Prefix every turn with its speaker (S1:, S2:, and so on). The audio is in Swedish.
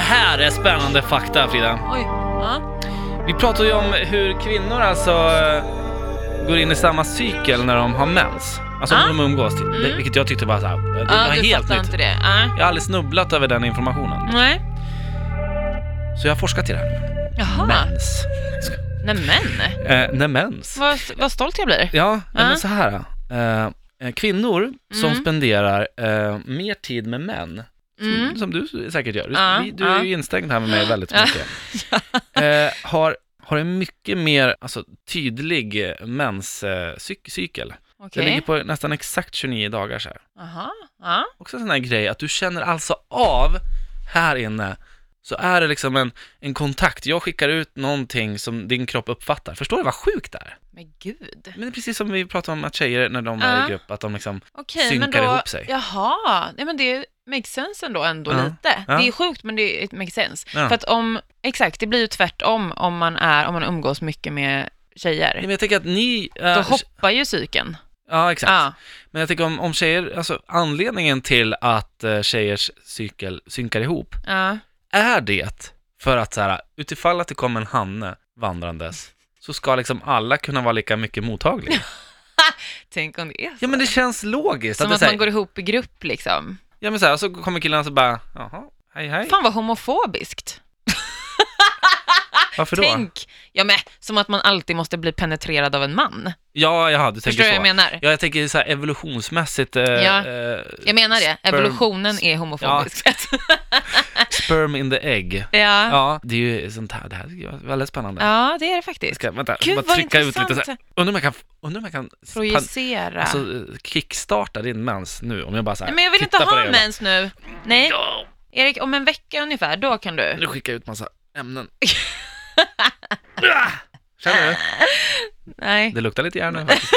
S1: är spännande fakta Frida.
S2: Oj. Ja.
S1: Vi pratar ju om hur kvinnor alltså eh, går in i samma cykel när de har mens. Alltså
S2: Ah.
S1: när de umgås. till- Det,
S2: Mm.
S1: vilket jag tyckte var såhär, det
S2: Ja,
S1: var
S2: du
S1: helt
S2: fattar
S1: nytt.
S2: inte Mm. det. Ja.
S1: Jag har aldrig snubblat över den informationen.
S2: Nej.
S1: Så jag har forskat i det här.
S2: Jaha.
S1: Mens.
S2: Nämen.
S1: Eh, nej, mens.
S2: Vad, vad stolt jag blir.
S1: Ja, nej,
S2: Ah.
S1: men så här. Eh, eh, kvinnor som
S2: Mm.
S1: spenderar eh, mer tid med män, som,
S2: Mm.
S1: som du säkert gör, du,
S2: Ja,
S1: vi- du
S2: ja.
S1: är ju instängd här med mig väldigt
S2: Ja.
S1: mycket, eh, har, har en mycket mer alltså, tydlig eh, menscykel. Den
S2: Okej.
S1: ligger på nästan exakt 29 dagar så här.
S2: Jaha. Ja.
S1: Också en sån här grej att du känner alltså av här inne, så är det liksom en, en kontakt. Jag skickar ut någonting som din kropp uppfattar. Förstår du vad sjukt det är?
S2: Men gud.
S1: Men det är precis som vi pratade om att tjejer när de
S2: Ja.
S1: är i grupp, att de liksom
S2: Okej,
S1: Synkar
S2: men då,
S1: ihop sig.
S2: Jaha, nej men det makes sense ändå, ändå
S1: Ja,
S2: lite.
S1: ja.
S2: Det är sjukt men det it makes sense.
S1: Ja.
S2: För att om, exakt, det blir ju tvärtom om man, är, om man umgås mycket med
S1: Nej,
S2: tjejer.
S1: men jag tänker att ni... eh,
S2: Då hoppar ju cykeln.
S1: ja, exakt.
S2: Ja.
S1: Men jag tänker om, om tjejer, alltså anledningen till att eh, tjejers cykel synkar ihop,
S2: Ja.
S1: är det för att så här, utifall att det kommer en hanne vandrandes, så ska liksom alla kunna vara lika mycket mottagliga.
S2: Tänk om det är så.
S1: Ja men det känns logiskt.
S2: Som
S1: det
S2: att
S1: så här,
S2: man går ihop i grupp liksom.
S1: Ja men så här, och så kommer killarna så bara, jaha, hej hej.
S2: Fan vad homofobiskt.
S1: Varför då?
S2: Tänk, ja men som att man alltid måste bli penetrerad av en man.
S1: Ja, jaha, du tänker
S2: Förstår
S1: så.
S2: du vad jag menar?
S1: Ja, jag tänker så här evolutionsmässigt. Eh,
S2: Ja,
S1: eh,
S2: Jag menar det,
S1: sperm-
S2: evolutionen är homofobisk.
S1: Sperm in the egg.
S2: ja.
S1: Ja, det är ju sånt här, det här är väldigt spännande.
S2: ja, det är det
S1: Jag
S2: faktiskt.
S1: ska, vänta,
S2: Gud
S1: bara
S2: vad
S1: trycka ut
S2: intressant.
S1: lite så här. Undrar om jag kan, undrar om jag kan pan-
S2: Projicera.
S1: alltså, eh, kickstarta din mens nu, om jag bara så här,
S2: Nej, men jag vill inte
S1: tittar på
S2: ha
S1: dig och
S2: mens nu. Nej,
S1: bara, "Ja."
S2: Erik, om en vecka ungefär, då kan du.
S1: Nu skickar jag ut massa ämnen. Ah! Känner du?
S2: Nej.
S1: Det luktar lite i hjärnan faktiskt.